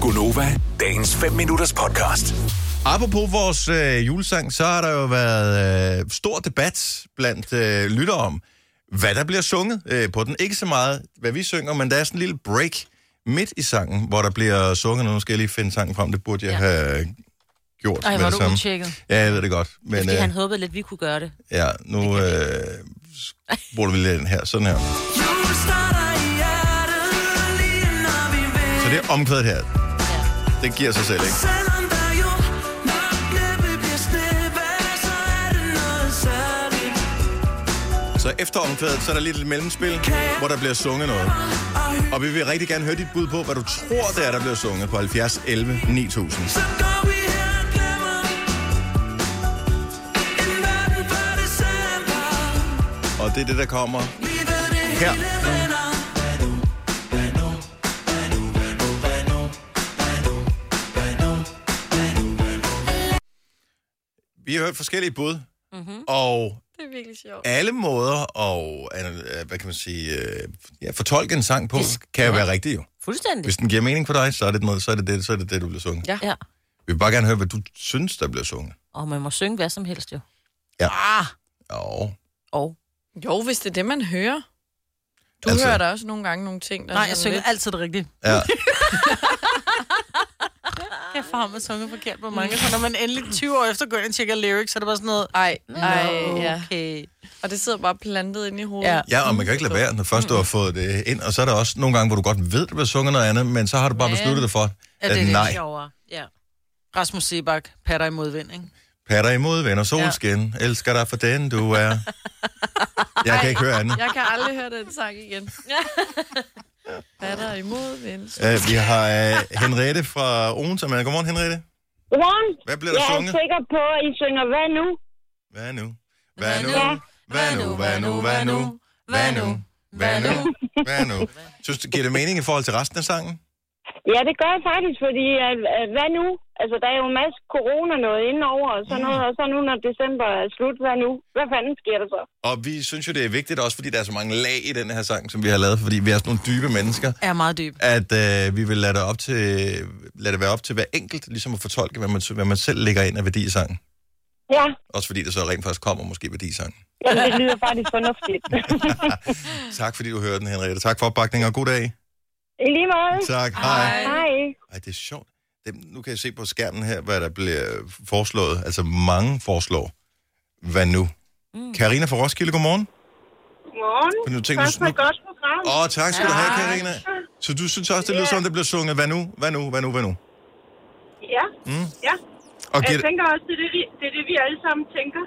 Gunova, dagens 5 minutters podcast. Apropos vores øh, julesang, så har der jo været øh, stor debat blandt øh, lyttere om, hvad der bliver sunget øh, på den. Ikke så meget, hvad vi synger, men der er sådan en lille break midt i sangen, hvor der bliver sunget. Nu skal jeg lige finde sangen frem, det burde jeg ja. Ja. have gjort Ej, med hvor er det du samme. utjekket. Ja, jeg ved det godt. Men, øh, Fordi han håbede lidt, vi kunne gøre det. ja, nu øh, bruger vi lige den her. Sådan her. Så det er omkvædet her. Det giver sig selv, ikke? Så efter omkvædet, så er der lige et mellemspil, hvor der bliver sunget noget. Og vi vil rigtig gerne høre dit bud på, hvad du tror, det er, der bliver sunget på 70 11 9000. Og det er det, der kommer her. Vi har hørt forskellige bud, Mhm. mm-hmm. og Det er virkelig sjovt. alle måder og hvad kan man sige, øh, ja, fortolke en sang på, kan jo være rigtigt jo. Fuldstændig. Hvis den giver mening for dig, så er det noget, så er det det, så er det, det du bliver sunget. Ja. Ja. Ja. Vi vil bare gerne høre, hvad du synes, der bliver sunget. Og man må synge hvad som helst jo. Ja. Ah, Og og. Jo, hvis det er det, man hører. Du Altså- altså... hører da også nogle gange nogle ting, der Nej, er jeg sådan synger lidt... altid det rigtigt. ja, Jeg har med sunget forkert på mange. Så når man endelig 20 år efter går ind og tjekker lyrics, så er det bare sådan noget... Ej, ej, ja. Okay. Og det sidder bare plantet ind i hovedet. Ja. ja, og man kan ikke lade være, når først du har fået det ind, og så er der også nogle gange, hvor du godt ved, der bliver sunget noget andet, men så har du bare Men- besluttet dig for, Ja, det er at lidt nej, sjovere. Ja. Rasmus Sebak, patter i modvind, ikke? patter imod venner, solskin, elsker dig for den, du er. Jeg kan ikke høre andet. Jeg kan aldrig høre den sang igen. Hvad er der imod, ven? Uh, vi har uh, Henriette fra Odense med. Godmorgen, Henriette. Godmorgen. Hvad bliver der Jeg er sunget? sikker på, at I synger, hvad nu? Hvad nu? Hvad nu? Hvad nu? Hvad nu? Hvad nu? Hvad nu? Hvad nu? Hvad nu? Synes du, giver det mening i forhold til resten af sangen? Ja, det gør jeg faktisk, fordi at, at, hvad nu? Altså, der er jo en masse corona noget indenover og sådan noget, og så nu, når december er slut, hvad nu? Hvad fanden sker der så? Og vi synes jo, det er vigtigt, også fordi der er så mange lag i den her sang, som vi har lavet, fordi vi er sådan nogle dybe mennesker, Er meget dyb. at øh, vi vil lade det, op til, lade det være op til hver enkelt, ligesom at fortolke, hvad man, hvad man selv lægger ind af værdi i sangen. Ja, Også fordi der så rent faktisk kommer måske værdi i sangen. jamen, det lyder faktisk fornuftigt. Tak fordi du hørte den, Henriette. Tak for opbakningen, og god dag. I lige måde. Tak, hej. Hej. Ej, det er sjovt. Det, nu kan jeg se på skærmen her, hvad der bliver foreslået. Altså mange foreslår. Hvad nu? Karina fra Roskilde, godmorgen. Godmorgen. Men nu tænker du- et godt program. Åh, oh, tak skal du have, Karina. Så du synes også, det lyder som, om, det bliver sunget, hvad nu, hvad nu, hvad nu, hvad nu? Ja, Mm. ja. Og giver, tænker også, det er det, vi, det er det, vi alle sammen tænker.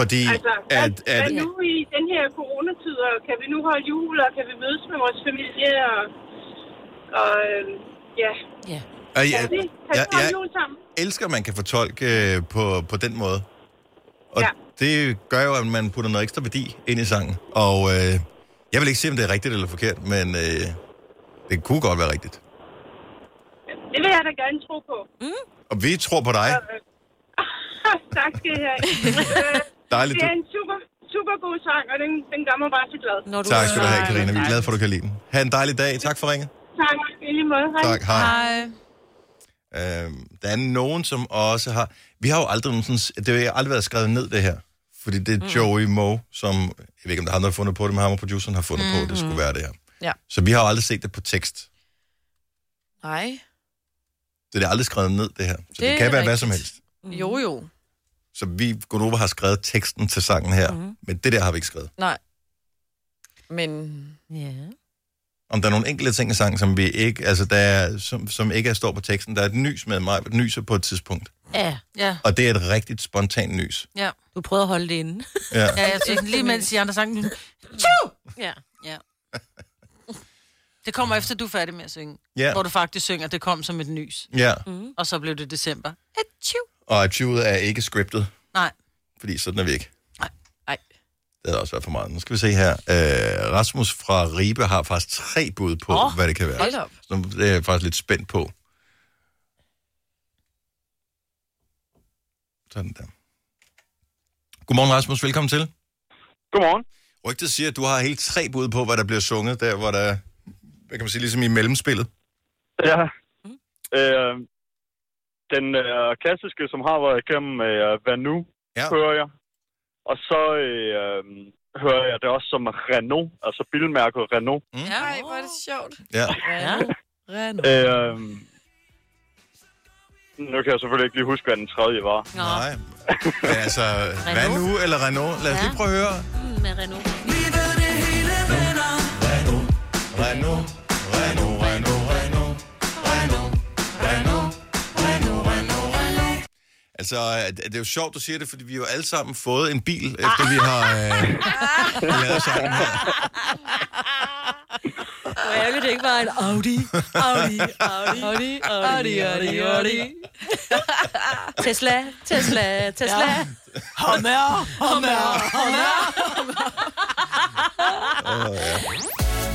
fordi altså, at, at, i den her coronatid, og kan vi nu holde jul, og kan vi mødes med vores familie, og, og øhm, ja, Ja. at, jeg, jeg, jeg sammen? elsker, at man kan fortolke øh, på, på den måde. Og Ja. det gør jo, at man putter noget ekstra værdi ind i sangen. Og øh, jeg vil ikke sige, om det er rigtigt eller forkert, men øh, det kunne godt være rigtigt. Det vil jeg da gerne tro på. øh, Og vi tror på dig. tak skal I have. Øh, Dejligt, det du... er en super, super god sang, og den, den gør mig bare så glad. Når du Tak skal du have, Nej, Karina. Vi er nej. glade for, at du kan lide den. Ha' en dejlig dag. Tak for ringet. Tak, i lige måde. Hej. Tak. Hej. Ej. Øhm, der er nogen, som også har... Vi har jo aldrig sådan... Det har aldrig været skrevet ned, det her. Fordi det Mm. er Joey Moe, som... Jeg ved ikke, om der er andre, der har fundet på det, men ham og produceren har fundet på, at Mm-hmm. det skulle være det her. Ja. Så vi har jo aldrig set det på tekst. Nej, Så det er aldrig skrevet ned, det her. Så det, Det det er kan være hvad rigtigt. som helst. jo jo. Så vi, Gunova, har skrevet teksten til sangen her. Mm. Men det der har vi ikke skrevet. Nej. Men Ja. om der er nogle enkelte ting i sangen, som vi ikke, altså der er, som, som ikke er står på teksten. Der er et nys med mig, et nyser på et tidspunkt. Ja. Ja. Og det er et rigtigt spontant nys. Ja. Du prøvede at holde det inde. Ja. ja, jeg synes lige mens de andre sang... ja. Ja. Det kommer efter, du er færdig med at synge. Ja. Hvor du Mhm. faktisk synger, det kom som et nys. ja. Og så blev det december. Atchoo. Og archivet er ikke scriptet, Nej. fordi sådan er vi ikke. nej, Det havde også været for meget. Nu skal vi se her. Øh, Rasmus fra Ribe har faktisk tre bud på, oh, Åh, hvad det kan være. hold op. Så det er jeg faktisk lidt spændt på. Sådan der. Godmorgen, Rasmus. Velkommen til. Godmorgen. Rygtet siger, at du har helt tre bud på, hvad der bliver sunget, der hvor der, hvad kan man sige, ligesom i mellemspillet. Ja, Øh, den øh, klassiske, som har været igennem, øh, hvad nu, Ja. ja. hører jeg. Og så øh, øh, hører jeg det også som Renault, altså bilmærket Renault. Ja. Ej, hvor er det sjovt. Ja. Ja. Renault. Øh, nu kan jeg selvfølgelig ikke lige huske, hvad den tredje var. Nå, Nej. Men altså, hvad nu eller Renault? Lad os lige Ja. prøve at høre. med Renault. Renault, Renault, Renault, Renault, Renault, Renault, Renault, Renault, Renault, Renault. Altså, øh, det er jo sjovt, du siger det, fordi vi har jo alle sammen fået en bil, efter vi har øh, lavet sangen her. Hvor ærgerligt, det ikke var en Audi, Audi, Audi, Audi, Audi, Audi, Audi. Tesla, Tesla, Tesla. Ja. Hummer, hummer.